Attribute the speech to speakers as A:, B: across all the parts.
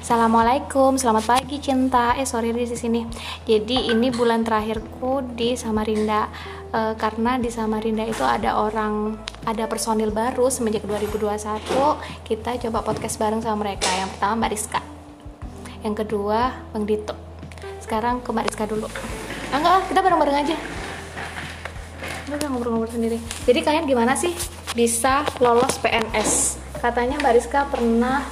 A: Assalamualaikum, selamat pagi cinta. Eh sorry di sini. Jadi ini bulan terakhirku di Samarinda Eh, karena di Samarinda itu ada orang, ada personil baru semenjak 2021. Kita coba podcast bareng sama mereka. Yang pertama Mbak Rizka, yang kedua Bang Dito. Sekarang ke Mbak Rizka dulu. Ah, enggak, ah, kita bareng-bareng aja. Udah ngobrol-ngobrol sendiri. Jadi kalian gimana sih bisa lolos PNS? Katanya Mbak Rizka pernah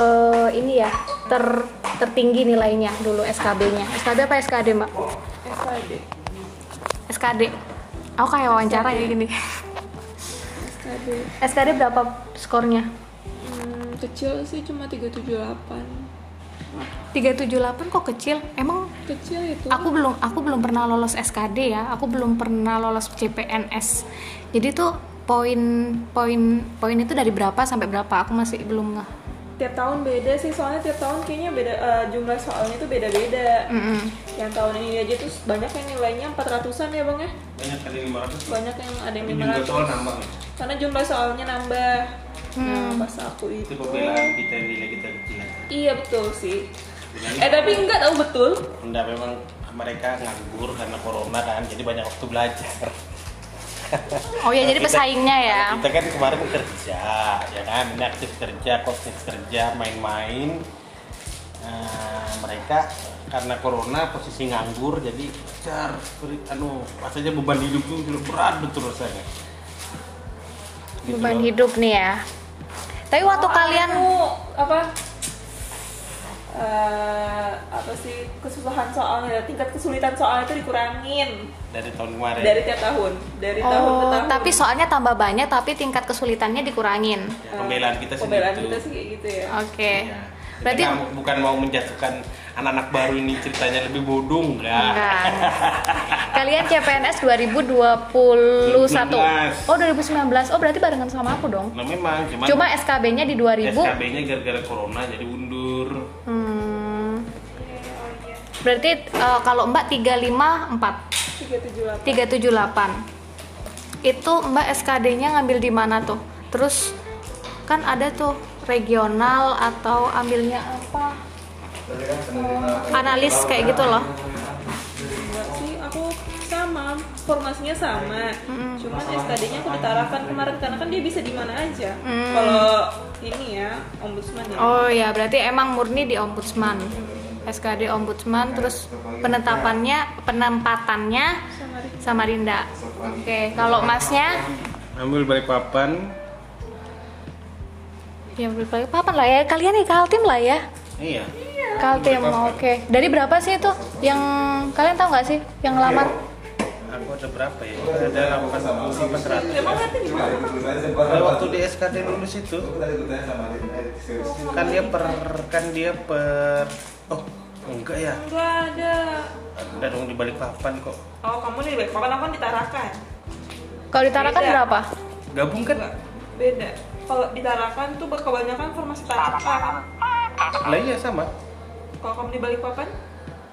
A: eh, ini ya ter- tertinggi nilainya dulu SKB-nya. SKB apa SKD Mbak?
B: SKD
A: SKD. Aku kayak wawancara ya gini.
B: SKD
A: SKD berapa skornya?
B: hmm, kecil sih cuma 378
A: 378 kok kecil. Emang
B: kecil itu
A: aku belum aku belum pernah lolos SKD ya aku belum pernah lolos CPNS jadi tuh poin poin poin itu dari berapa sampai berapa aku masih belum nggak
B: tiap tahun beda sih soalnya tiap tahun kayaknya beda eh, jumlah soalnya tuh beda-beda
A: Hmm.
B: yang tahun ini aja tuh banyak yang nilainya 400-an ya bang ya
C: banyak kali 500
B: banyak yang ada yang
C: ini juga soal
B: 500
C: nambah ya
B: karena jumlah soalnya nambah nah pas aku
C: itu
B: itu
C: pembelaan kita yang nilai kita kecil
B: iya betul sih
C: Bilangnya
B: eh tapi enggak tahu betul
C: enggak memang mereka nganggur karena corona kan jadi banyak waktu belajar
A: oh ya
C: Kalau
A: jadi
C: kita-
A: pesaingnya ya
C: kita kan kemarin kerja ya kan ini aktif kerja aktif kerja main-main Eh, mereka karena corona posisi nganggur jadi car beri- anu rasanya beban hidup tuh berat betul rasanya Gitu
A: beban
C: loh.
A: hidup nih ya tapi waktu
B: Oh,
A: kalian
B: anu, apa eh, apa sih kesusahan soalnya tingkat kesulitan soal itu dikurangin
C: dari tahun kemarin
B: dari tiap tahun dari tahun ke
A: oh
B: tahun
A: tapi soalnya tambah banyak tapi tingkat kesulitannya dikurangin
C: Ya, pembelaan kita sendiri
B: pembelaan
C: tuh.
B: Eh, kita sih kayak gitu ya
A: oke
C: Ya.
A: Eh, berarti
C: Kita bukan mau menjatuhkan anak-anak baru ini ceritanya lebih bodoh enggak.
A: Enggak. Kalian CPNS 2021.
C: 2019.
A: Oh, 2019. Oh, berarti barengan sama aku dong.
C: Nah memang cuman
A: Cuma SKB-nya di 2000.
C: SKB-nya gara-gara corona jadi undur.
A: Hmm. Berarti eh, kalau Mbak 354,
B: tiga tujuh
A: 378. Itu Mbak SKD-nya ngambil di mana tuh? Terus kan ada tuh regional atau ambilnya apa? Analis kayak gitu loh.
B: enggak sih aku sama formasinya sama cuman SKD-nya aku ditarafkan kemarin karena kan dia bisa di mana aja
A: Mm.
B: kalau ini ya ombudsman ya
A: Oh ya, berarti emang murni di ombudsman. SKD ombudsman terus penetapannya penempatannya
B: sama Ri-
A: Samarinda. Oke, kalau Masnya
C: Ambil balik papan.
A: ya berapa papan lah ya. Kalian nih Kaltim lah ya.
C: Iya.
A: Kaltim. Oke. Dari berapa sih itu yang kalian tahu nggak sih yang lamar?
C: Aku ada berapa ya? Ada 80
B: emang nanti di mana
C: Kalau waktu ya di SKD lulus itu kan dia per kan dia per oh enggak ya
B: enggak ada
C: ada dong di balik papan kok
B: oh kamu nih baik papan aku kan ditarafkan
A: Kalau ditarakan
B: Beda.
A: berapa?
C: gabung kan
B: beda kalau ditarafkan tuh kebanyakan formasi tarakan
C: lah iya sama
B: kalau kamu di balik papan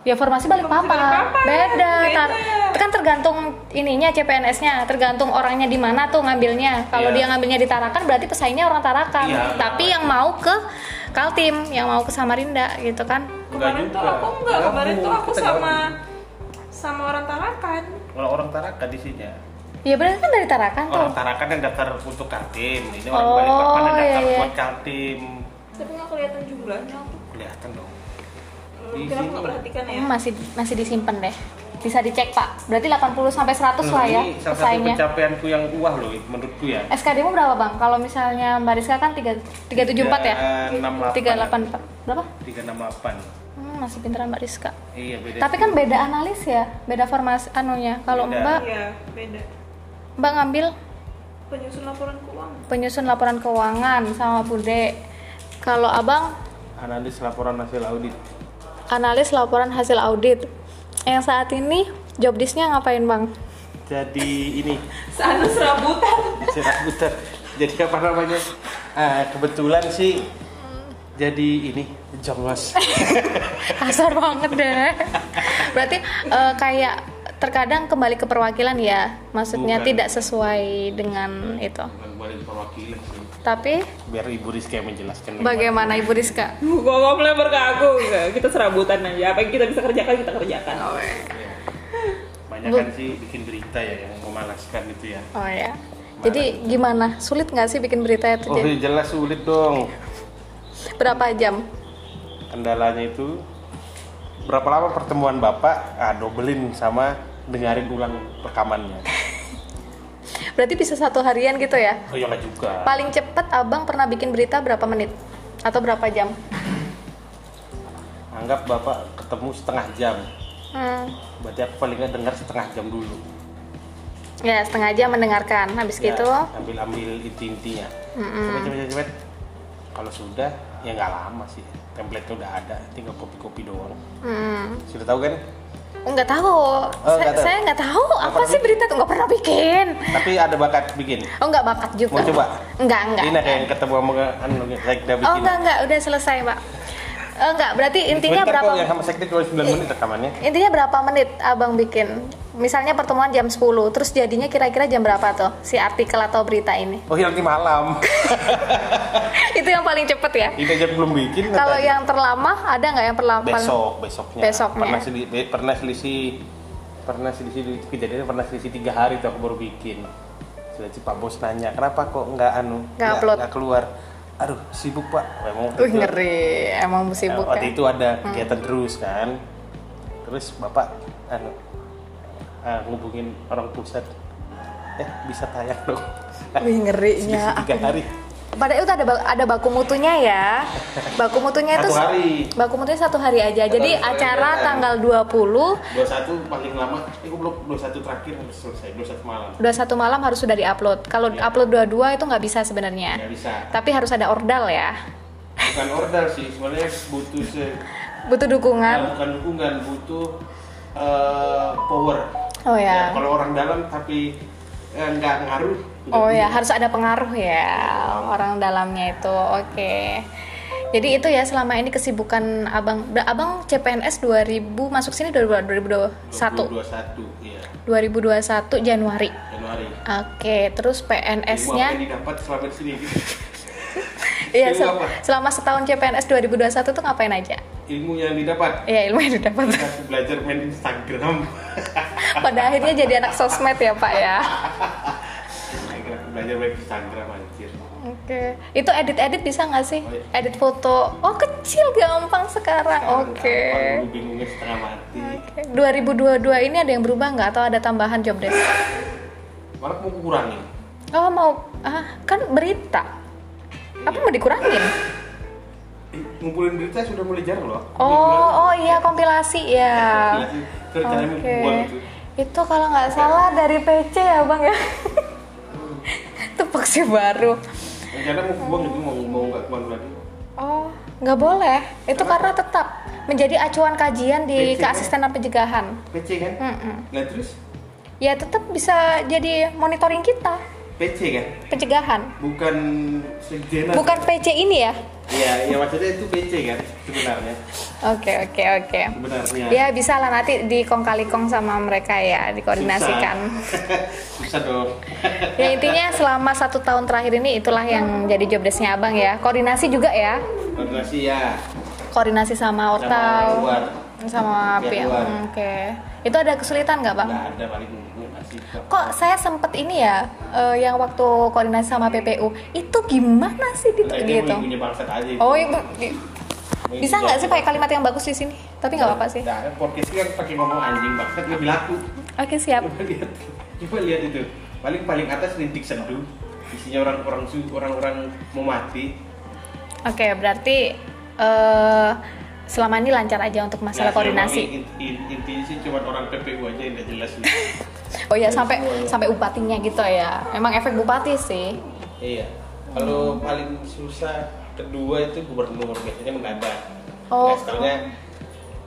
A: Ya formasi balik
B: Formasi
A: papan.
B: Balikpapan,
A: Beda. Tar-
B: beda.
A: kan tergantung ininya CPNS-nya, tergantung orangnya di mana tuh ngambilnya. Kalau
C: Iya.
A: dia ngambilnya di Tarakan berarti pesaingnya orang Tarakan.
C: Iya.
A: Tapi yang mau ke Kaltim, yang mau ke Samarinda gitu kan.
B: kemarin tuh
C: juga.
B: aku enggak kemarin
C: Gabung,
B: tuh aku
C: kita
B: sama
C: gabung.
B: sama orang tarakan
C: kalau orang Taraka di sini ya.
A: Ya berarti kan dari Tarakan tuh.
C: orang Tarakan yang daftar untuk Kaltim ini orang
A: Oh,
C: Balikpapan yang daftar
A: iya, iya.
C: buat Kaltim
B: tapi nggak kelihatan jumlahnya aku
C: kelihatan dong
B: mungkin aku nggak perhatikan ya
A: Hmm, Masih masih disimpan deh. Bisa dicek, Pak. Berarti 80 sampai 100 lah ya
C: Hmm, ini salah satu
A: pesaingnya.
C: pencapaianku yang wah loh menurutku ya
A: SKD-mu berapa, Bang? Kalau misalnya Mbak Rizka kan 3 374 ya?
C: 368
A: 384. Berapa?
C: 368
A: Hmm, masih pintaran Mbak Rizka.
C: iya beda
A: Tapi kan beda analis ya, beda formasi anunya. Kalau
C: Beda.
A: Mbak
B: iya beda
A: Mbak ngambil
B: penyusun laporan keuangan
A: penyusun laporan keuangan sama Bude. Kalau Abang
C: analis laporan hasil audit
A: analis laporan hasil audit. Yang saat ini job desk-nya ngapain, Bang?
C: jadi ini
B: sana serabutan
C: cerah putar jadi apa namanya Ah, kebetulan sih jadi ini jongos
A: Kasar banget deh. Berarti eh, kayak terkadang kembali ke perwakilan ya maksudnya
C: Bukan.
A: tidak sesuai dengan itu
C: Bukan kembali ke perwakilan sih.
A: tapi
C: Biar Ibu Rizky yang menjelaskan.
A: bagaimana Ibu Rizka?
B: Gue gak melebar ke aku, enggak. kita serabutan aja. Apa yang kita bisa kerjakan, kita kerjakan.
C: Banyak kan sih bikin berita ya yang memalaskan itu ya.
A: Oh ya. Jadi gimana? Sulit nggak sih bikin berita itu?
C: Oh iya.
A: Jadi,
C: jelas sulit dong.
A: Berapa jam?
C: Kendalanya itu berapa lama pertemuan bapak? Ah dobelin sama dengerin ulang rekamannya.
A: Berarti bisa satu harian gitu ya?
C: Oh ya nggak juga.
A: Paling cepat abang pernah bikin berita berapa menit? Atau berapa jam?
C: Anggap bapak ketemu setengah jam.
A: Hmm.
C: Berarti aku paling nggak dengar setengah jam dulu.
A: Ya setengah jam mendengarkan. Habis
C: Ya.
A: gitu.
C: Ambil ambil inti intinya.
A: Mm-mm.
C: Cepet cepet cepet, cepet. Kalau sudah ya nggak lama sih. Template udah ada, tinggal kopi kopi doang.
A: Hmm. Oh,
C: Sudah tahu kan?
A: Nggak tahu.
C: Oh,
A: saya,
C: nggak tahu.
A: saya nggak tahu. apa
C: pernah
A: sih berita tuh nggak pernah bikin?
C: Tapi ada bakat bikin.
A: Oh nggak bakat juga.
C: Mau coba?
A: Nggak nggak.
C: Ini kayak yang ketemu sama anu Sekda bikin.
A: Oh nggak nggak. Udah selesai pak. Eh, nggak. Berarti intinya
C: Sebentar
A: berapa?
C: kok, ya? yang sama sekda cuma 9 menit rekamannya.
A: Intinya berapa menit abang bikin? Misalnya pertemuan jam 10, terus jadinya kira-kira jam berapa tuh si artikel atau berita ini?
C: Oh, yang nanti malam.
A: Itu yang paling cepet ya?
C: Ini aja belum bikin.
A: Kalau
C: katanya.
A: yang terlama ada nggak yang perlama?
C: besok, besoknya.
A: Besoknya.
C: Pernah selisih, pernah selisih pernah selisih itu kejadiannya pernah selisih tiga hari tuh aku baru bikin. Sudah Pak Bos nanya, "Kenapa kok nggak anu?
A: Nggak upload."
C: nggak keluar?" Aduh, sibuk, Pak. Memang
A: Wih ngeri, emang sibuk
C: ya, waktu
A: ya.
C: itu ada kegiatan terus kan. Terus Bapak anu ah, ngubungin orang pusat. Eh, bisa tayang dong.
A: Wih
C: Selisih
A: ngerinya.
C: tiga hari.
A: Padahal itu ada ba- ada baku mutunya ya. Baku mutunya itu
C: Satu hari.
A: baku mutunya satu hari aja.
C: Satu
A: Jadi
C: hari, satu hari,
A: acara
C: satu hari.
A: tanggal 20
C: 21 paling lama, eh gue belum 21 terakhir harus selesai, 21 malam.
A: udah satu malam harus sudah diupload. Kalau upload dua-dua itu nggak bisa sebenarnya.
C: Iya. Nggak bisa.
A: Tapi harus ada ordal ya.
C: Bukan order sih, sebenarnya butuh se eh,
A: Butuh dukungan.
C: bukan dukungan, butuh eh, power.
A: Oh ya.
C: kalau orang dalam tapi eh, nggak ngaruh. nggak
A: Oh ya,
C: bisa.
A: harus ada pengaruh ya orang dalamnya itu. Oke. Jadi itu ya selama ini kesibukan Abang Udah, Abang CPNS 2000 masuk sini 2021
C: 2021, iya.
A: 2021 Januari.
C: Januari.
A: Oke, terus
C: Ibu apa yang
A: PNS-nya
C: didapat selama di sini?
A: iya
C: ilmu
A: sel-
C: apa?
A: selama setahun CPNS 2021 tuh ngapain aja?
C: Ilmu yang didapat.
A: Ya ilmu yang didapat.
C: Kita belajar main Instagram.
A: Pada akhirnya jadi anak sosmed ya, Pak ya.
C: Aku belajar main Instagram anjir.
A: Oke. Itu edit-edit bisa nggak sih?
C: Oh, iya.
A: Edit foto. Oh, kecil gampang sekarang. Oke.
C: Gampang, Lu bingungnya setengah mati.
A: Oke, 2022 ini ada yang berubah nggak atau ada tambahan job desk?
C: Malah mau kurangin.
A: Oh mau, ah, kan berita. Apa mau dikurangin?
C: Eh, ngumpulin berita sudah mulai jarang loh.
A: Oh, oh iya kompilasi ya.
C: Terus
A: Oke.
C: caranya buang itu.
A: Itu kalau nggak salah dari PC ya bang ya. Itu boxnya baru.
C: Rencana mau buang itu mau mau nggak keluar lagi.
A: Oh nggak boleh. Itu karena tetap menjadi acuan kajian di
C: PC.
A: keasistenan pencegahan.
C: PC kan?
A: Mm-mm.
C: Nah terus
A: Ya tetap bisa jadi monitoring kita
C: PC kan?
A: pencegahan.
C: Bukan sejenak.
A: Bukan PC ini ya?
C: Iya, ya maksudnya itu PC kan sebenarnya.
A: Oke oke oke.
C: Sebenarnya.
A: Ya bisa lah nanti dikong-kalikong sama mereka ya dikoordinasikan.
C: Susah dong.
A: Ya intinya selama satu tahun terakhir ini itulah yang jadi job desk-nya abang ya. Koordinasi juga ya,
C: Koordinasi ya.
A: koordinasi sama
C: orang
A: ortau,
C: luar.
A: sama
C: Pihak
A: pihak.
C: luar.
A: hmm, Oke. Itu ada kesulitan nggak bang?
C: Nggak ada paling masih
A: Kok saya sempet ini ya eh, yang waktu koordinasi sama PPU itu gimana sih gitu?
C: Nah, ini
A: gitu?
C: punya bangsa aja. itu.
A: Oh ibu
C: Mau
A: bisa
C: ibu
A: nggak
C: jago.
A: sih pakai kalimat yang bagus di sini? Tapi nggak apa-apa sih.
C: Nah, kan podcast kan pakai ngomong anjing bangsa lebih laku.
A: Oke siap.
C: Coba lihat, coba lihat itu. Paling paling atas rintik sendu. Isinya orang-orang su, orang-orang mau mati.
A: Oke, berarti eh, selama ini lancar aja untuk masalah
C: Nah,
A: koordinasi.
C: selama ini in- in- intinya sih cuma orang PPU aja yang nggak jelas.
A: Oh iya sampai sampai bupatinya gitu ya. Memang efek bupati sih.
C: iya. Kalau paling susah kedua itu gubernur biasanya mendadak.
A: Oh.
C: Nah, setelahnya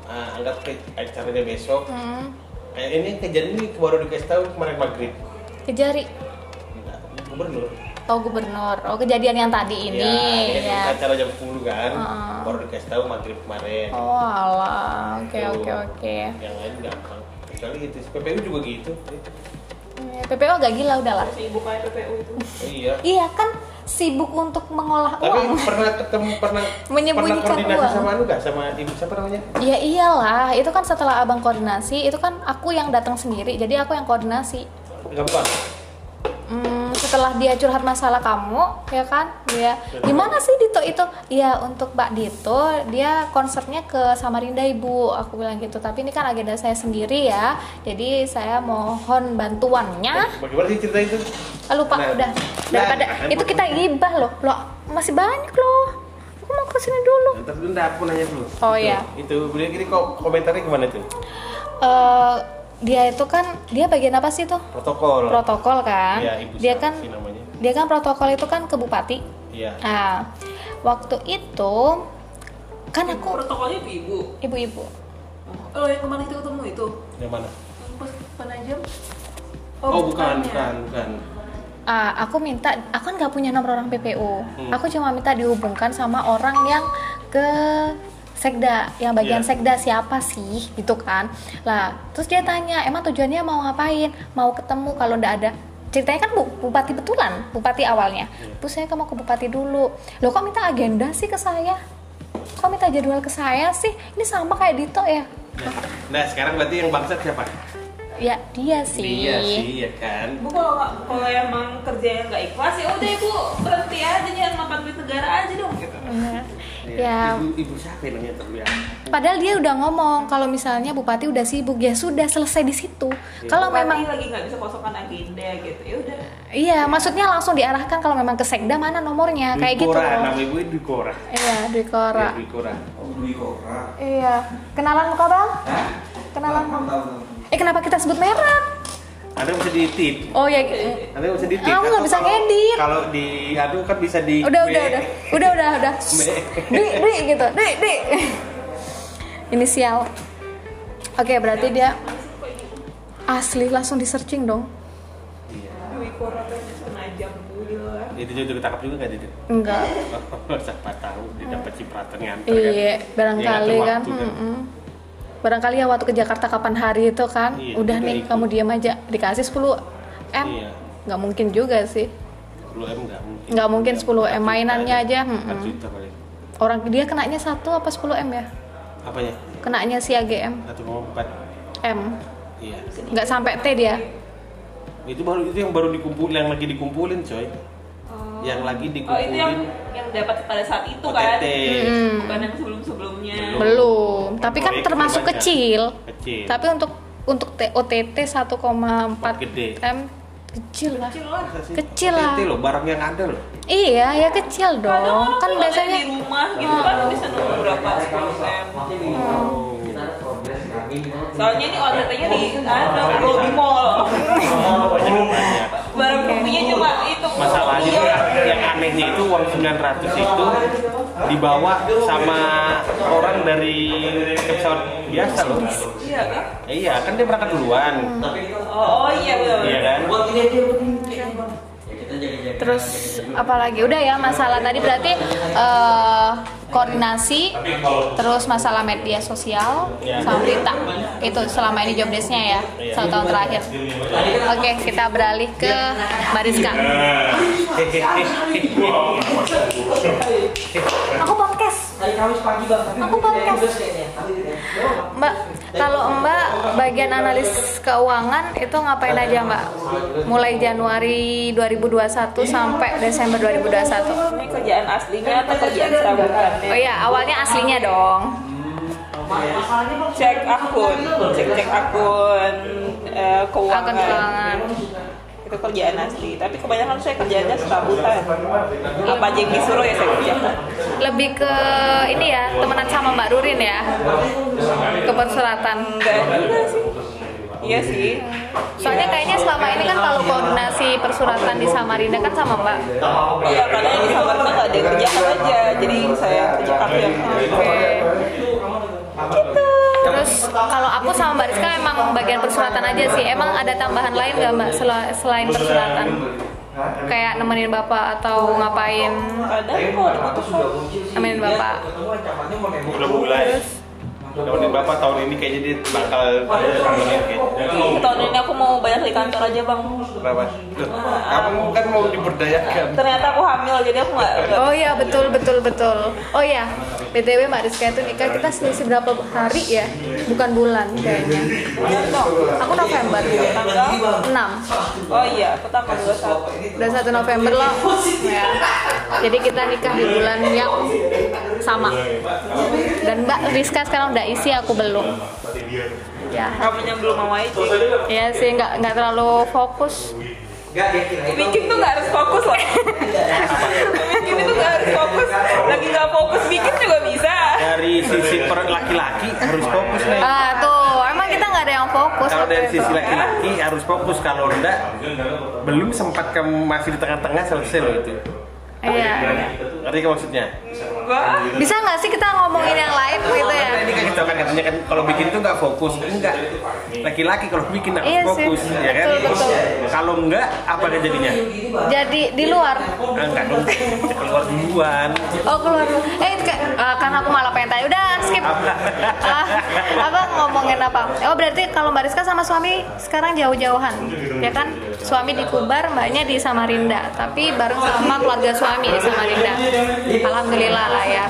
C: ah, anggap ke- acaranya besok.
A: Hmm.
C: Kayak ini kejadian ini baru dikasih tahu kemarin maghrib.
A: Kejari.
C: Nah, gubernur.
A: Oh gubernur. Oh kejadian yang tadi ini.
C: Ya,
A: ya.
C: kan acara jam 10 kan.
A: Heeh.
C: Baru dikasih tahu maghrib kemarin.
A: Oh alah. Oke oke oke.
C: Yang lain gampang. kecuali gitu PPU juga gitu
A: Eh, PPO agak gila udahlah.
B: si ibu kayak PPU itu
C: iya
A: Iya kan sibuk untuk mengolah
C: tapi
A: uang.
C: pernah ketemu pernah pernah
A: Menyembunyikan
C: koordinasi
A: uang.
C: sama lu gak sama ibu siapa namanya
A: Ya iyalah, itu kan setelah abang koordinasi, itu kan aku yang datang sendiri, jadi aku yang koordinasi.
C: gampang
A: Hmm, setelah dia curhat masalah kamu, ya kan? Dia gimana sih Dito itu? Ya untuk Mbak Dito, dia konsernya ke Samarinda Ibu, aku bilang gitu. Tapi ini kan agenda saya sendiri ya, jadi saya mohon bantuannya.
C: bagaimana sih cerita itu
A: Ah, lupa
C: Nah,
A: udah
C: nah,
A: daripada
C: nah,
A: itu kita gibah loh, loh masih banyak loh. Aku mau kesini dulu.
C: ntar dulu ntar aku nanya dulu
A: Oh,
C: Itu-
A: iya.
C: itu beliau gini kok komentarnya gimana tuh
A: Eh, dia itu kan dia bagian apa sih tuh?
C: protokol
A: Protokol kan?
C: Iya, ibu
A: dia
C: siapa
A: kan
C: sih namanya?
A: dia kan protokol itu kan ke bupati.
C: iya
A: Nah, waktu itu kan aku
B: protokolnya ibu ibu
A: ibu-ibu.
B: oh yang kemarin kita ketemu itu
C: yang mana
B: yang pas penajam
C: oh,
A: ya.
C: bukan bukan bukan
A: Ah, aku minta aku kan nggak punya nomor orang PPU.
C: Hmm.
A: Aku cuma minta dihubungkan sama orang yang ke sekda, yang bagian
C: Iya.
A: sekda siapa sih gitu kan. Lah, terus dia tanya, "Emang tujuannya mau ngapain? Mau ketemu kalau ndak ada?" Ceritanya kan bu, bupati betulan, bupati awalnya.
C: Iya.
A: Terus saya mau ke bupati dulu. Loh kok minta agenda sih ke saya? Kok minta jadwal ke saya sih? Ini sama kayak Dito ya?
C: Nah, nah sekarang berarti yang bangsat siapa
A: Ya, dia sih.
C: Iya sih ya kan
B: Bu kalau nggak- kalau emang kerjanya nggak ikhlas ya udah ibu berhenti aja jangan makan duit negara aja dong. gitu.
A: Bener. Ya,
C: Iya. ibu ibu siapa yang namanya Ya. terlihat
A: Padahal dia udah ngomong kalau misalnya bupati udah sibuk ya sudah selesai di situ.
C: Iya.
A: Kalau
B: Bupati
A: memang
B: lagi nggak bisa kosongkan agenda gitu ya udah.
A: iya, maksudnya langsung diarahkan kalau memang ke sekda mana nomornya kayak gitu.
C: Dwi Kora, nama ibu Dwi Kora.
A: Iya, Dwi Kora.
C: Iya, Dwi Kora.
A: Iya. Kenalan muka Bang? Kenalan. Eh kenapa kita sebut merek?
C: Anda bisa diedit.
A: Oh ya.
C: Anda bisa diedit.
A: Kamu nggak
C: Atau
A: bisa
C: kalau-
A: ngedit.
C: Kalau di aduh kan bisa di
A: Udah, udah, udah. Udah, udah, udah.
C: Me.
A: Dwi, Dwi gitu. Dwi, Dwi. Inisial. Oke, berarti dia asli langsung di searching dong.
C: Iya.
B: Dwi Kora tuh yang senajam gila.
C: Itu juga ketangkap juga nggak jadi.
A: Enggak.
C: Siapa tahu dia dapat cipratan nganter kan.
A: Hmm. Iya, barangkali
C: Dia
A: kan.
C: ngatur waktu,
A: mm-mm. Barangkali ya waktu ke Jakarta kapan hari itu kan,
C: Iya,
A: udah
C: udah
A: nih
C: ikut.
A: kamu diam aja dikasih 10 m,
C: Iya.
A: nggak mungkin juga sih.
C: 10 M nggak mungkin.
A: Nggak mungkin 10 M,
C: 4 juta
A: mainannya aja, Hmm,
C: Empat
A: mm-mm.
C: juta paling.
A: Orang dia kenanya satu apa 10 m ya?
C: Apanya?
A: Kenanya si AGM
C: 1,4.
A: m,
C: Iya.
A: nggak sampai T dia.
C: Itu baru itu yang baru dikumpulin, yang lagi dikumpulin, coy.
A: Oh.
C: Yang lagi
B: Oh itu yang
C: Ya, dikumpulin
B: yang dapat pada saat itu kan.
C: OTT.
B: Bukan yang sebelum-sebelumnya.
C: Belum.
A: Hmm, Belum, tapi kan
C: Proyek
A: termasuk
C: banyak.
A: kecil.
C: Kecil.
A: Tapi untuk untuk T- OTT 1,4
C: Gede.
A: m kecil lah.
B: Kecil lah.
A: Kecil lah.
C: Itu loh barang yang ada loh.
A: Iya, ya kecil
B: Kadang
A: dong.
B: orang
A: Kan
B: tuh
A: biasanya
B: di rumah gitu kan bisa nunggu berapa 10 M.
A: Oh.
C: Oh.
B: Soalnya ini OTT-nya di ada di mall. Barang buktinya cuma itu.
C: Masalahnya
B: Iya.
C: tuh yang anehnya itu uang 900 itu dibawa sama orang dari pesawat biasa loh.
B: Iya kan?
C: Eh, iya, kan dia berangkat duluan.
B: Oh, oh iya benar.
C: Iya kan?
D: Ya,
E: Iya,
A: Terus apalagi udah ya masalah tadi berarti eh, koordinasi, terus masalah media sosial sama berita itu selama ini jobdesknya ya satu tahun terakhir. Oke kita beralih ke Mariska. Aku podcast.
D: Hari Kamis pagi bang.
A: Aku podcast.
D: kayaknya.
A: Mbak, kalau Mbak bagian analis keuangan itu ngapain aja Mbak? Mulai Januari 2021 sampai Desember 2021.
B: Ini kerjaan aslinya atau kerjaan serabutannya?
A: Oh iya, awalnya aslinya dong.
B: Cek akun, cek cek akun eh,
A: Akun
B: keuangan.
A: keuangan.
B: Itu kerjaan asli. Tapi kebanyakan saya kerjanya serabutan. Apa aja yang disuruh ya saya kerjakan.
A: Lebih ke ini ya, temenan sama Mbak Rurin ya. Ke perseratan.
B: Enggak juga sih. Iya sih.
A: Soalnya kayaknya selama ini kan kalau koordinasi persuratan di Samarinda kan sama Mbak.
B: Iya, karena ini sama kita nggak ada yang kerjakan aja. Jadi saya kerjakan yang
C: Iya,
A: Oke. Terus kalau aku sama Mbak Rizka emang bagian persuratan aja sih. Emang ada tambahan lain nggak Mbak sel- selain persuratan? Kayak nemenin Bapak atau ngapain?
C: Iya.
B: Kadang kok ada
D: Aku
B: keputusan.
D: sudah muncul sih.
A: Nemenin Bapak.
D: Ketemu ancamannya mau nembak.
C: Udah mulai. Tahun ini bapak tahun ini kayaknya dia bakal nemenin kayaknya.
B: tahun ini aku mau banyak di kantor aja bang
C: Kenapa? Loh, kamu kan mau diberdayakan.
B: ternyata aku hamil jadi aku nggak nggak-
A: Oh iya betul betul betul. Oh iya, btw Mbak Rizka itu nikah kita selisih berapa hari ya? Bukan bulan kayaknya.
B: Bener dong.
A: Aku November
B: Tanggal
A: 6
B: oh iya aku tanggal 21
A: udah 1 November loh ya. jadi kita nikah di bulan yang sama dan Mbak Rizka sekarang udah isi aku belum ya
B: kamu yang belum mau aja
A: ya sih nggak nggak terlalu fokus
B: bikin tuh nggak harus fokus loh bikin itu nggak harus fokus lagi nggak fokus bikin juga bisa
C: Dari sisi per laki-laki harus fokus nih.
A: ah tuh emang kita nggak ada yang fokus
C: Kalau
A: waktu
C: dari
A: itu.
C: sisi laki-laki harus fokus kalau enggak belum sempat kamu masih di tengah-tengah selesai loh itu.
A: iya
C: Ngerti nggak maksudnya?
B: enggak
A: bisa nggak sih kita ngomongin yang lain gitu ya
C: Ini kan kita kan katanya kan kalau bikin itu nggak fokus, enggak. Laki-laki kalau bikin harus
A: Iya sih.
C: fokus, ya kan?
A: Betul, betul.
C: Kalau enggak, apa dia jadinya?
A: jadi di luar
C: Ah, enggak dong, keluar duluan.
A: oh keluar dulu. eh ke- ah, karena aku malah pengen tanya udah skip Ah, apa ngomongin apa? Oh berarti kalau Mbak Rizka sama suami sekarang jauh-jauhan, ya kan? Suami di Kubar, mbaknya di Samarinda, tapi bareng sama keluarga suami di Samarinda. Alhamdulillah lah ya.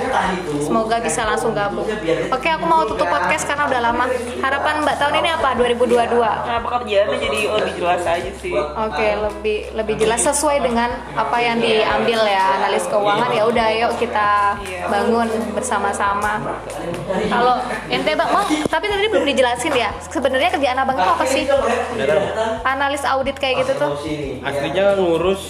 A: Semoga bisa langsung gabung. Oke, aku mau tutup podcast karena udah lama. Harapan Mbak tahun ini apa? 2022.
B: nah pekerjaannya jadi lebih jelas aja sih
A: Oke, lebih lebih jelas sesuai dengan apa yang diambil ya analis keuangan. Ya udah, yuk kita bangun bersama-sama. Kalau ente bang, Bang, tapi tadi belum dijelasin ya. Sebenarnya kerjaan abang itu apa sih? Analis audit kayak gitu tuh.
D: Iya.
C: Aslinya ngurus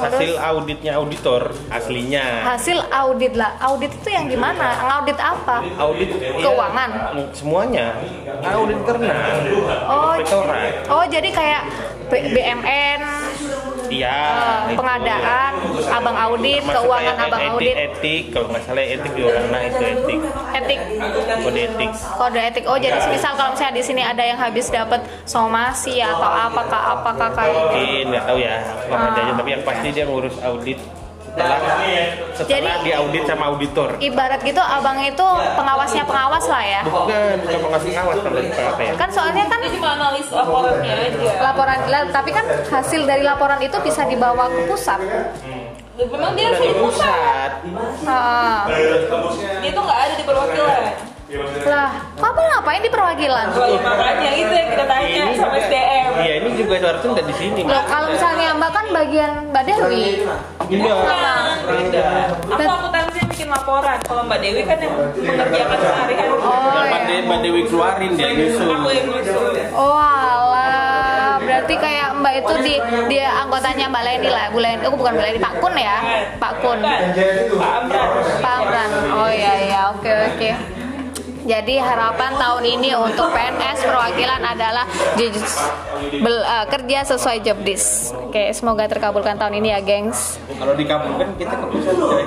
C: hasil auditnya auditor aslinya.
A: Hasil audit lah. Audit itu yang gimana? Ngaudit apa?
C: Audit
A: Keuangan.
C: semuanya audit internal
A: Oh,
C: inspektorat
A: oh jadi kayak B- BMN,
C: iya
A: eh,
C: itu.
A: pengadaan, abang audit,
C: Termasuk
A: keuangan
C: kayak
A: abang
C: etik,
A: audit,
C: etik kalau nggak salah etik di orang nah itu etik
A: etik.
C: kode etik
A: kode etik oh jadi misal kalau misalnya di sini ada yang habis dapat somasi atau apakah apakah kayak
C: mungkin nggak tahu ya nggak
A: Ah.
C: percaya tapi yang pasti dia ngurus audit setelah setelah
A: Jadi-
C: diaudit sama auditor
A: ibarat gitu abang itu pengawasnya pengawas lah ya
C: bukan bukan pengasih awas kalau itu apa ya
A: kan soalnya kan
B: cuma analis laporannya aja
A: laporan lah, tapi kan hasil dari laporan itu bisa dibawa ke pusat Iya,
B: memang dia harus di pusat
C: pusat
A: Ah,
B: dia tuh nggak ada di perwakilan
A: lah kok abang ngapain di perwakilan
B: Wah, makanya itu yang kita tanya sama SDM
C: iya ini juga harusnya nggak di sini
A: Loh, kalau misalnya mbak kan bagian mbak Dewi
C: Iya.
B: Beda. Aku akuntansi bikin laporan. Kalau Mbak Dewi kan yang mengerjakan sehari-hari.
A: oh
C: Mbak
A: ya
C: De- Mbak Dewi keluarin dia nyusul
B: Aku yang nyusul.
A: Oh alah, berarti kayak Mbak itu di dia anggotanya Mbak Leni lah, Bu Leni. Oh bukan Bu Leni, Pak Kun ya, Pak Kun.
B: Bukan. Pak Amran.
A: Pamran. Oh iya iya, oke oke. Jadi harapan tahun ini untuk PNS perwakilan adalah jujus- bel- eh, kerja sesuai jobdis. Oke, semoga terkabulkan tahun ini ya, gengs.
C: kalau dikabulkan kita ke pusat
A: Iya.
C: coy.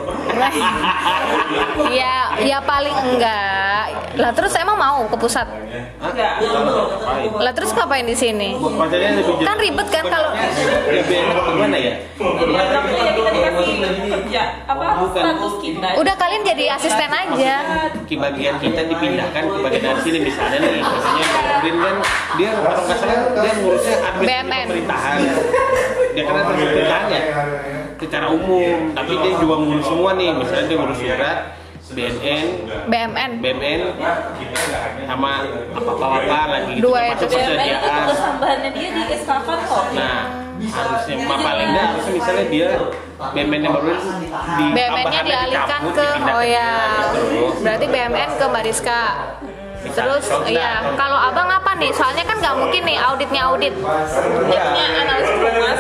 A: ya, ya paling enggak. Lah terus emang mau ke pusat.
B: Enggak.
A: Lah terus ngapain di sini?
C: Maksudnya lebih jelas.
A: Kan ribet kan kalau
C: lebih enak gimana ya?
B: Jadi enaknya ya kita dikasih kerja. Apa status kita?
A: udah kalian jadi asisten aja.
C: Ki bagian kita dipindahkan ke bagian dari sini misalnya nih. Misalnya Kemarin kan dia kalau nggak salah dia ngurusnya administrasi
A: BMN.
C: pemerintahan. Dia kan administrasi pemerintahannya secara umum, tapi dia juga ngurus semua nih. Misalnya dia ngurus surat, BNN,
A: BMN.
C: BMN, sama apa-apa lagi gitu.
A: Dua itu.
B: BMN itu
C: termasuk persediaan.
B: tugas tambahannya dia di SKK kok.
C: Nah, harusnya mah paling nggak harusnya misalnya dia BMN yang baru itu di
A: BMN-nya
C: tambahannya
A: dialihkan
C: dicabut,
A: ke
C: dipindah
A: oh ya.
C: gitu.
A: Berarti BMN ke Mbak Rizka. Terus ya kalau abang apa nih? Soalnya kan nggak mungkin nih auditnya audit. Iya.
B: Dia punya analis perumahan.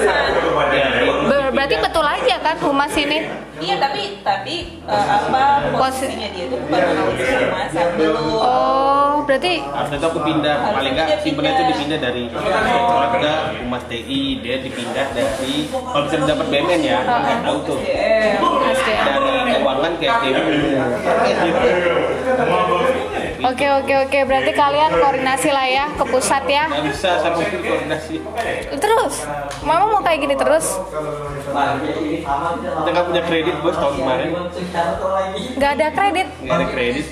C: Ya, itu
A: Ber- berarti betul aja kan humas ini.
B: Iya tapi tapi eh, apa posisinya dia itu bukan analis perumahan belum.
A: Oh berarti
C: Harusnya tuh aku pindah paling nggak
B: dia
C: simpennya
B: pindah.
C: itu dipindah dari Inspektorat ke Humas TI dia dipindah dari kalau bisa dapat BMN ya kan nggak tahu tuh
B: Eh,
A: SDM.
C: dari keuangan ke SDM
A: Oke oke oke berarti kalian koordinasi lah ya ke pusat ya.
C: nggak bisa saya mungkin koordinasi
A: Terus, mama mau kayak gini terus?
C: kita nggak punya kredit bos
D: Iya,
C: tahun kemarin
A: Nggak ada kredit.
C: nggak ada kredit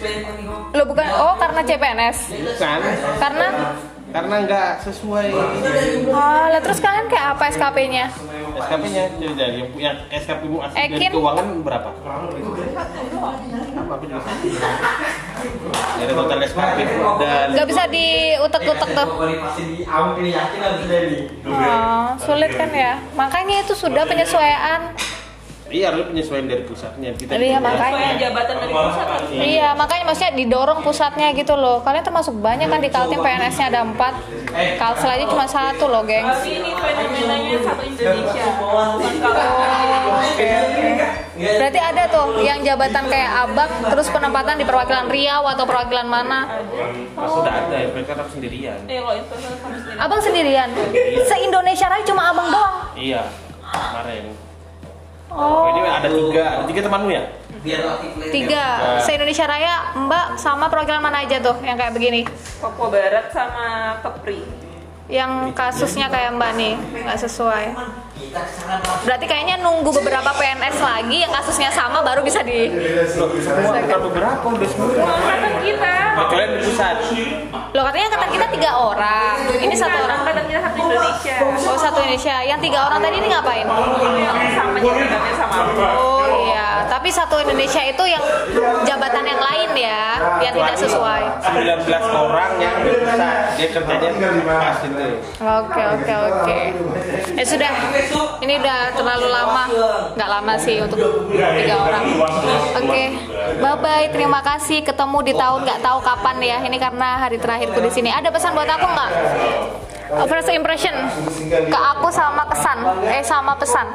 A: Lo bukan? Oh karena CPNS.
C: bukan
A: Karena?
C: Kan? karena nggak sesuai
A: Oh, lah terus kalian kayak apa SKP-nya?
C: SKP-nya jadi jadi yang, eh, yang SKP mu asli dari
A: Ekin.
C: keuangan berapa? Sama aku juga sama. Dari total SKP dan
A: Nggak bisa diutek-utek
D: Iya,
A: tuh. Oh, sulit kan ya? Makanya itu sudah penyesuaian.
C: iya harus penyesuaian dari pusatnya kita.
A: Iya,
C: juga.
A: makanya.
B: Supaya jabatan dari pusat kan?
A: Iya, makanya maksudnya didorong pusatnya gitu loh. Kalian termasuk banyak kan di Kaltim PNS-nya ada empat. Kalsel aja cuma satu loh, geng.
B: Tapi ini fenomenanya satu Indonesia. Bukan kalau-
A: Berarti ada tuh yang jabatan kayak abak, terus penempatan di perwakilan Riau atau perwakilan mana. Oh.
C: Sudah ada, mereka harus sendirian.
B: Eh kalau investor harus sendiri.
A: Abang sendirian. Se-Indonesia Raya cuma abang doang.
C: Iya, kemarin.
A: Oh.
C: Oh. Ini ada tiga, ada tiga temanmu ya?
A: Tiga. Se-Indonesia Raya, Mbak sama perwakilan mana aja tuh yang kayak begini?
B: Papua Barat sama Kepri.
A: Yang kasusnya kayak Mbak nih, nggak sesuai. Berarti kayaknya nunggu beberapa PNS lagi yang kasusnya sama baru bisa di...
C: Loh, semua bukan beberapa, udah semua.
B: Angkatan kita.
C: Kalian di pusat.
A: Loh katanya angkatan kita tiga orang, ini satu
B: Bukan,
A: orang.
B: Angkatan kita satu Indonesia.
A: Oh satu Indonesia, yang tiga orang tadi ini ngapain?
B: Yang sama jabatannya sama aku.
A: Oh iya, tapi satu Indonesia itu yang jabatan yang lain ya, yang tidak sesuai.
C: 19 orang yang di pusat, dia kerjanya pas itu.
A: Oke oke oke. Ya sudah, ini udah terlalu lama, nggak lama sih untuk tiga orang. Oke, bye bye. Terima kasih. Ketemu di tahun nggak tahu kapan ya. Ini karena hari terakhirku di sini. Ada pesan buat aku nggak? Uh, First impression ke aku sama kesan, eh sama pesan.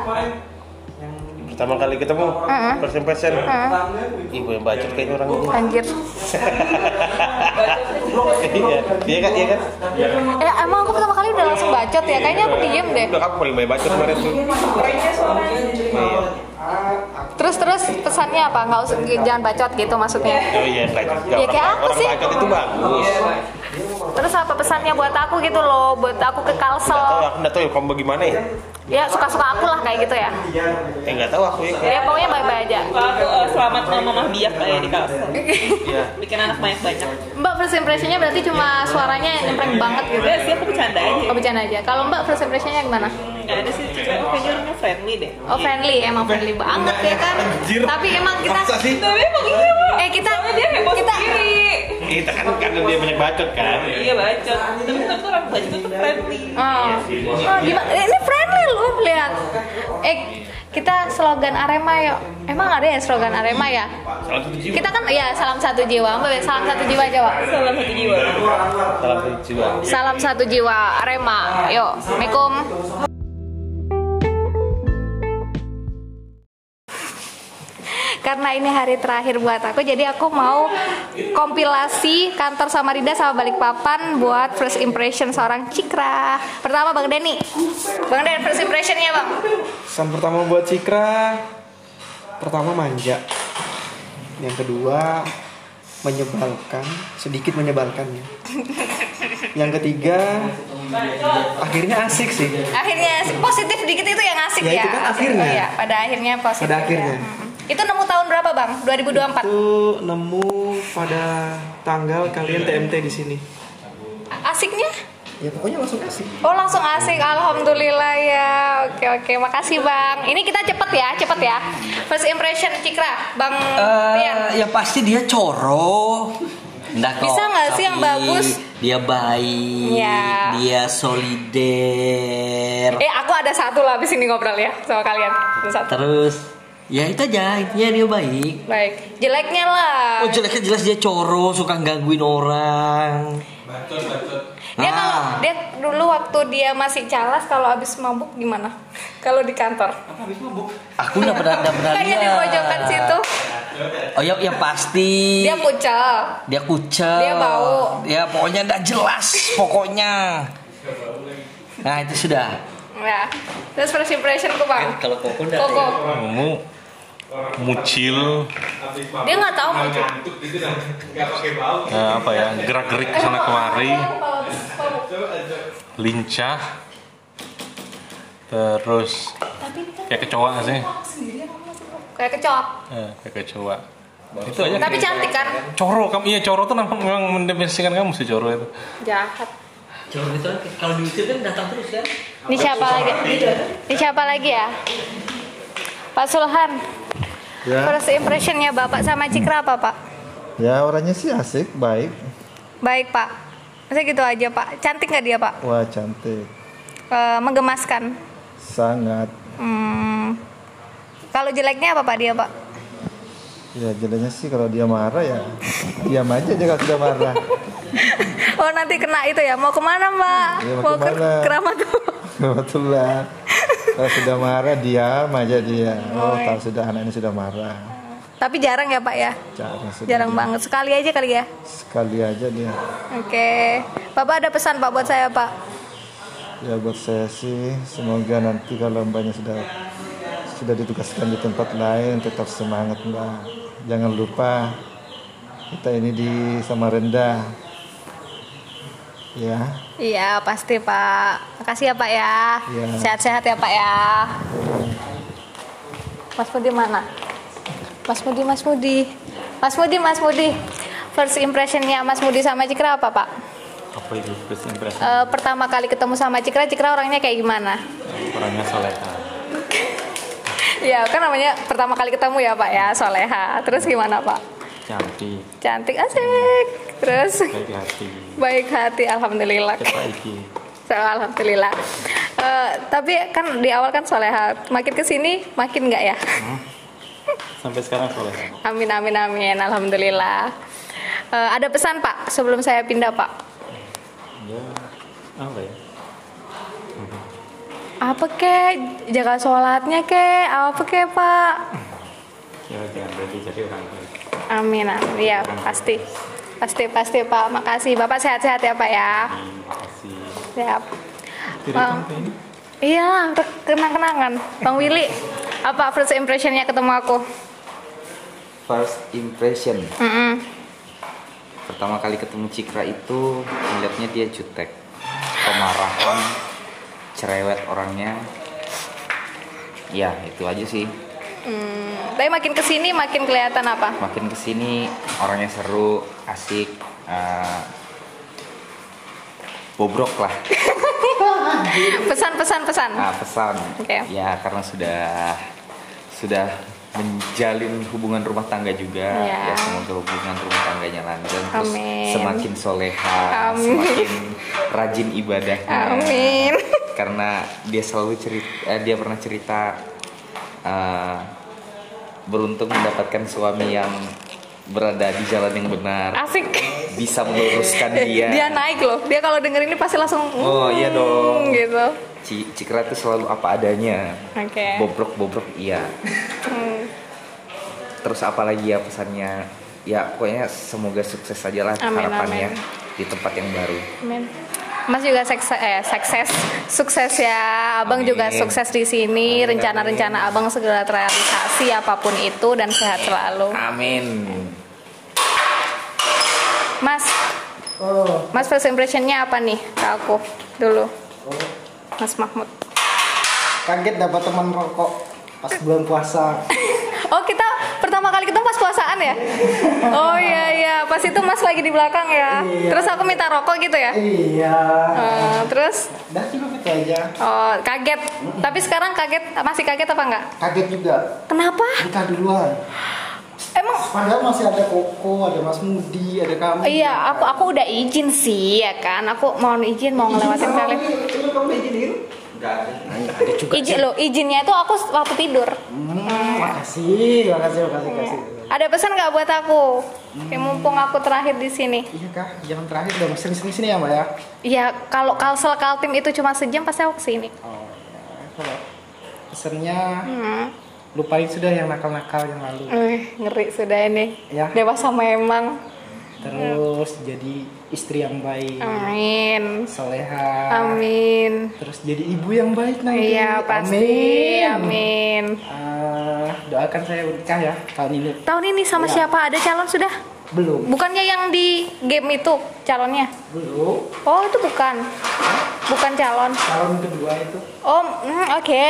C: Pertama kali ketemu, first impression. Ibu yang bacot kayaknya orang ini.
A: Hmm. Anjir.
C: Iya, iya kan, iya kan.
A: Eh emang aku pertama kali udah langsung bacot ya. Kayaknya aku diem deh.
C: Udah aku paling banyak bacot kemarin tuh.
B: Kayaknya suaranya
C: Iya.
A: Terus terus pesannya apa? Nggak usah jangan bacot gitu maksudnya.
C: Oh iya, bacot.
A: Ya, kayak
C: orang,
A: aku
C: orang
A: sih. Oh.
C: bacot itu bagus.
A: Terus apa pesannya buat aku gitu loh, buat aku ke
C: Tahu
A: Kalsel.
C: aku nggak tahu ya, kamu bagaimana ya?
A: Ya suka-suka aku lah kayak gitu ya.
C: Eh nggak tahu aku ya.
A: Ya pokoknya bye-bye aja.
B: aku eh, selamat sama Mama Biak kayak di Kalsel.
C: Iya.
B: Bikin anak banyak-banyak.
A: Mbak first impression-nya berarti cuma suaranya nyempreng banget gitu.
B: Udah sih aku bercanda aja.
A: Oh bercanda aja. Kalau Mbak first impression-nya gimana?
B: Nggak ada sih cewek kayaknya orangnya friendly deh.
A: Oh friendly, emang friendly banget ya kan.
C: Anjir.
A: Tapi emang kita
C: Masa sih?
B: Tapi emang iya, Pak.
A: eh kita
B: Soalnya dia heboh
A: kita
B: sendiri.
C: Kita kan karena dia banyak bacot kan.
B: Iya bacot. Tapi tetap tuh orang bacot tuh friendly.
A: Oh. Oh, gimana? Eh, Ini friendly loh lihat. Eh kita slogan Arema yuk. Emang ada ya slogan Arema ya?
C: Salah satu jiwa.
A: Kita kan ya salam satu jiwa. Mbak salam satu jiwa Jawa.
B: Salah satu jiwa.
C: Salah satu jiwa.
A: Salam satu jiwa Arema. Yuk, Assalamualaikum. Karena ini hari terakhir buat aku, jadi aku mau kompilasi kantor Samarinda sama Balikpapan buat first impression seorang Cikra. Pertama Bang Denny. Bang Denny first impressionnya Bang.
D: Pesan pertama buat Cikra Pertama manja Yang kedua Menyebalkan Sedikit menyebalkan ya Yang ketiga Akhirnya asik sih
A: Akhirnya positif dikit itu yang asik ya.
D: Ya, itu kan akhirnya.
A: Iya, pada akhirnya positif.
D: Pada akhirnya.
A: ya. Mm-mm. Itu nemu tahun berapa Bang? 2024.
D: Itu nemu pada tanggal kalian TMT di sini
A: Asiknya?
D: Ya pokoknya langsung asik
A: Oh langsung asik, alhamdulillah ya. Oke oke, makasih bang. Ini kita cepet ya, cepet ya. First impression Cikra, bang Rian.
F: Eh, yang pasti dia coro. Nggak kok,
A: Bisa nggak
F: tapi
A: sih yang bagus?
F: Dia baik,
A: Iya.
F: dia solider.
A: Eh aku ada satu lah abis ini ngobrol ya sama kalian. Ada Satu.
F: Terus ya itu aja, intinya dia baik.
A: Baik, jeleknya lah.
F: Oh jeleknya jelas dia coro, suka gangguin orang.
A: Dia kalau
F: Ah.
A: dia dulu waktu dia masih calas kalau abis mabuk gimana? Kalau di kantor?
F: Aku nggak pernah nggak pernah
A: Kayaknya di
F: lihat.
A: pojokan situ.
F: Oh ya, yang pasti
A: Dia pucal.
F: dia kucel.
A: Dia bau.
F: Ya pokoknya nggak jelas, pokoknya. Nah itu sudah.
A: Ya. Terus first impression ku bang.
F: Kalau koko
A: Koko.
F: Kamu
G: mucil
A: Dia nggak tahu mau
G: eh, apa ya gerak-gerik ke sana kemari lincah terus kayak kecoa sih
A: kayak kecoa.
G: eh, kayak kecoa itu aja
A: Tapi cantik kan?
G: coro kamu iya coro tuh memang memang mendefinisikan kamu sih coro itu
A: Jahat.
H: Coba gitu kan, kalau di YouTube kan datang terus kan.
A: Ini siapa lagi? Ini siapa lagi ya? Pak Sulhan. First impressionnya Bapak sama Cikra apa Pak?
I: Ya orangnya sih asik, baik.
A: Baik Pak. Masa gitu aja Pak. Cantik nggak dia Pak?
I: Wah cantik,
A: Eh, menggemaskan.
I: sangat.
A: Hmm. Kalau jeleknya apa Pak dia Pak?
I: Ya jeleknya sih kalau dia marah ya diam aja dia kalau sudah marah.
A: Oh nanti kena itu ya. Mau kemana Mbak?
I: Iya, mau
A: ke
I: kemana?
A: keramat.
I: Kebetulan kalau sudah marah diam aja dia. Oh
A: Oi.
I: tahu sudah anak ini sudah marah.
A: Tapi jarang ya Pak ya.
I: Jarang sudah.
A: Jarang banget. Sekali aja kali ya.
I: Sekali aja dia.
A: Oke. Bapak ada pesan Pak buat saya Pak.
I: Ya buat saya sih semoga nanti kalau mbaknya sudah sudah ditugaskan di tempat lain tetap semangat mbak. Jangan lupa kita ini di Samarinda. Ya,
A: Iya pasti Pak. Makasih ya Pak ya.
I: Iya.
A: Sehat-sehat ya Pak ya. Mas Mudi mana? Mas Mudi, Mas Mudi. Mas Mudi, Mas Mudi. First impressionnya Mas Mudi sama Cikra apa Pak?
G: apa itu first impression
A: Eh, pertama kali ketemu sama Cikra, Cikra orangnya kayak gimana?
G: orangnya soleha
A: Ya kan namanya pertama kali ketemu ya Pak ya, soleha. Terus gimana Pak?
G: cantik
A: Cantik asik. Terus
G: baik hati
A: baik hati, alhamdulillah.
G: baik
A: So, alhamdulillah. Eh, tapi kan di awal kan soleha, makin kesini makin nggak ya?
G: sampai sekarang soleha
A: Amin amin amin, alhamdulillah. Eh, ada pesan Pak sebelum saya pindah Pak?
G: ya apa ya
A: Apa kek? Jaga sholatnya kek? Apa kek Pak?
G: ya jangan berhenti jadi orang baik
A: Amin amin, ya pasti. Pasti pasti Pak, makasih. Bapak sehat-sehat ya Pak ya.
G: terima kasih
A: Siap. Bang, iya, re- kenang-kenangan. Bang Willy, apa first impressionnya ketemu aku?
E: First impression
A: Mm-mm.
E: pertama kali ketemu Cikra itu melihatnya dia jutek, kemarahan, cerewet orangnya. Ya itu aja sih.
A: Hmm, Tapi makin kesini makin kelihatan apa?
E: Makin kesini orangnya seru, asik, eh, bobrok lah.
A: Pesan-pesan-pesan.
E: Nah, pesan.
A: Oke.
E: Ya karena sudah sudah menjalin hubungan rumah tangga juga.
A: Ya.
E: Ya semoga hubungan rumah tangganya langgeng terus
A: Amin.
E: semakin soleha,
A: Amin.
E: semakin rajin ibadahnya.
A: Amin.
E: Karena dia selalu cerita dia pernah cerita eh, beruntung mendapatkan suami yang berada di jalan yang benar,
A: Asik.
E: bisa meluruskan dia.
G: Iya.
A: Dia naik loh. Dia kalau denger ini pasti langsung
E: Oh, iya dong.
A: gitu.
E: Ci- Cikra itu selalu apa adanya.
A: Oke.
E: Bobrok-bobrok iya.
A: Eh. Hmm.
E: terus apalagi ya pesannya ya pokoknya semoga sukses aja lah
A: Amin,
E: harapannya
A: amin.
E: di tempat yang baru
A: Amin. Mas juga sukses, eh, sukses, sukses ya. Abang
E: Amin.
A: juga sukses di sini.
E: Amin,
A: Rencana-rencana abang segera terrealisasi apapun itu dan sehat selalu.
E: amin
A: Mas, Mas first impressionnya apa nih ke aku dulu? Mas Mahmud.
J: Kaget dapat teman rokok pas bulan puasa.
A: Oh kita pertama kali ketemu pas puasaan ya? Oh iya iya, pas itu Mas lagi di belakang ya.
J: Iya.
A: Terus aku minta rokok gitu ya.
J: iya.
A: Eh, terus
J: Dah cukup itu aja.
A: oh, kaget. Tapi sekarang kaget masih kaget apa enggak?
J: Kaget juga.
A: Kenapa?
J: Nikah duluan.
A: Emang
J: Padahal masih ada Koko, ada Mas Mudi, ada kamu.
A: Iya, aku aku udah izin sih ya kan. Aku mohon izin mau ngelewatin
I: Iya.
J: Sama
A: kalian.
J: ini, Ini kamu izinin?
A: Izin loh, izinnya itu aku waktu tidur.
J: Hmm, makasih, makasih, makasih, makasih.
A: Ada pesan nggak buat aku? Ya, mumpung aku terakhir di sini.
J: Iya kak, jangan terakhir dong, sering-sering sini ya mbak ya.
A: Ya kalau kalsel kaltim itu cuma sejam pasti aku kesini.
J: Nah, Kalau pesennya
A: Hmm.
J: lupain sudah yang nakal-nakal yang lalu.
A: Eh, ngeri sudah ini.
J: Ya.
A: Dewasa memang.
J: Terus jadi istri yang baik,
D: Iya.
A: Amin.
J: soleha.
A: Ah. Amin.
J: Terus jadi ibu yang baik nanti.
A: Iya pasti.
J: Amin.
A: Amin.
J: Ah, doain doakan saya nikah ya tahun ini
A: Tahun ini sama siapa? Ada calon sudah?
J: belum
A: Bukannya yang di game itu calonnya?
J: belum
A: Oh, itu bukan. Bukan calon.
J: calon kedua itu
A: Oh, mm, oke.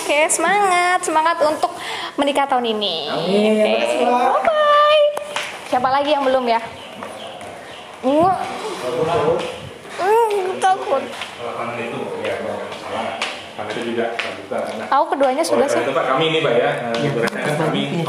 A: Oke, semangat. Semangat untuk menikah tahun ini.
J: Amin.
A: Oke.
J: Makasih, Mbak.
A: Bye-bye. Siapa lagi yang belum ya? Nggak. Hmm, takut.
K: Kalau itu ya kalau salah. Karena itu juga terbuka. Karena
A: Aku keduanya sudah
K: Oleh karena
A: sih.
K: itu Pak kami ini Pak ya, eh, ibaratnya kami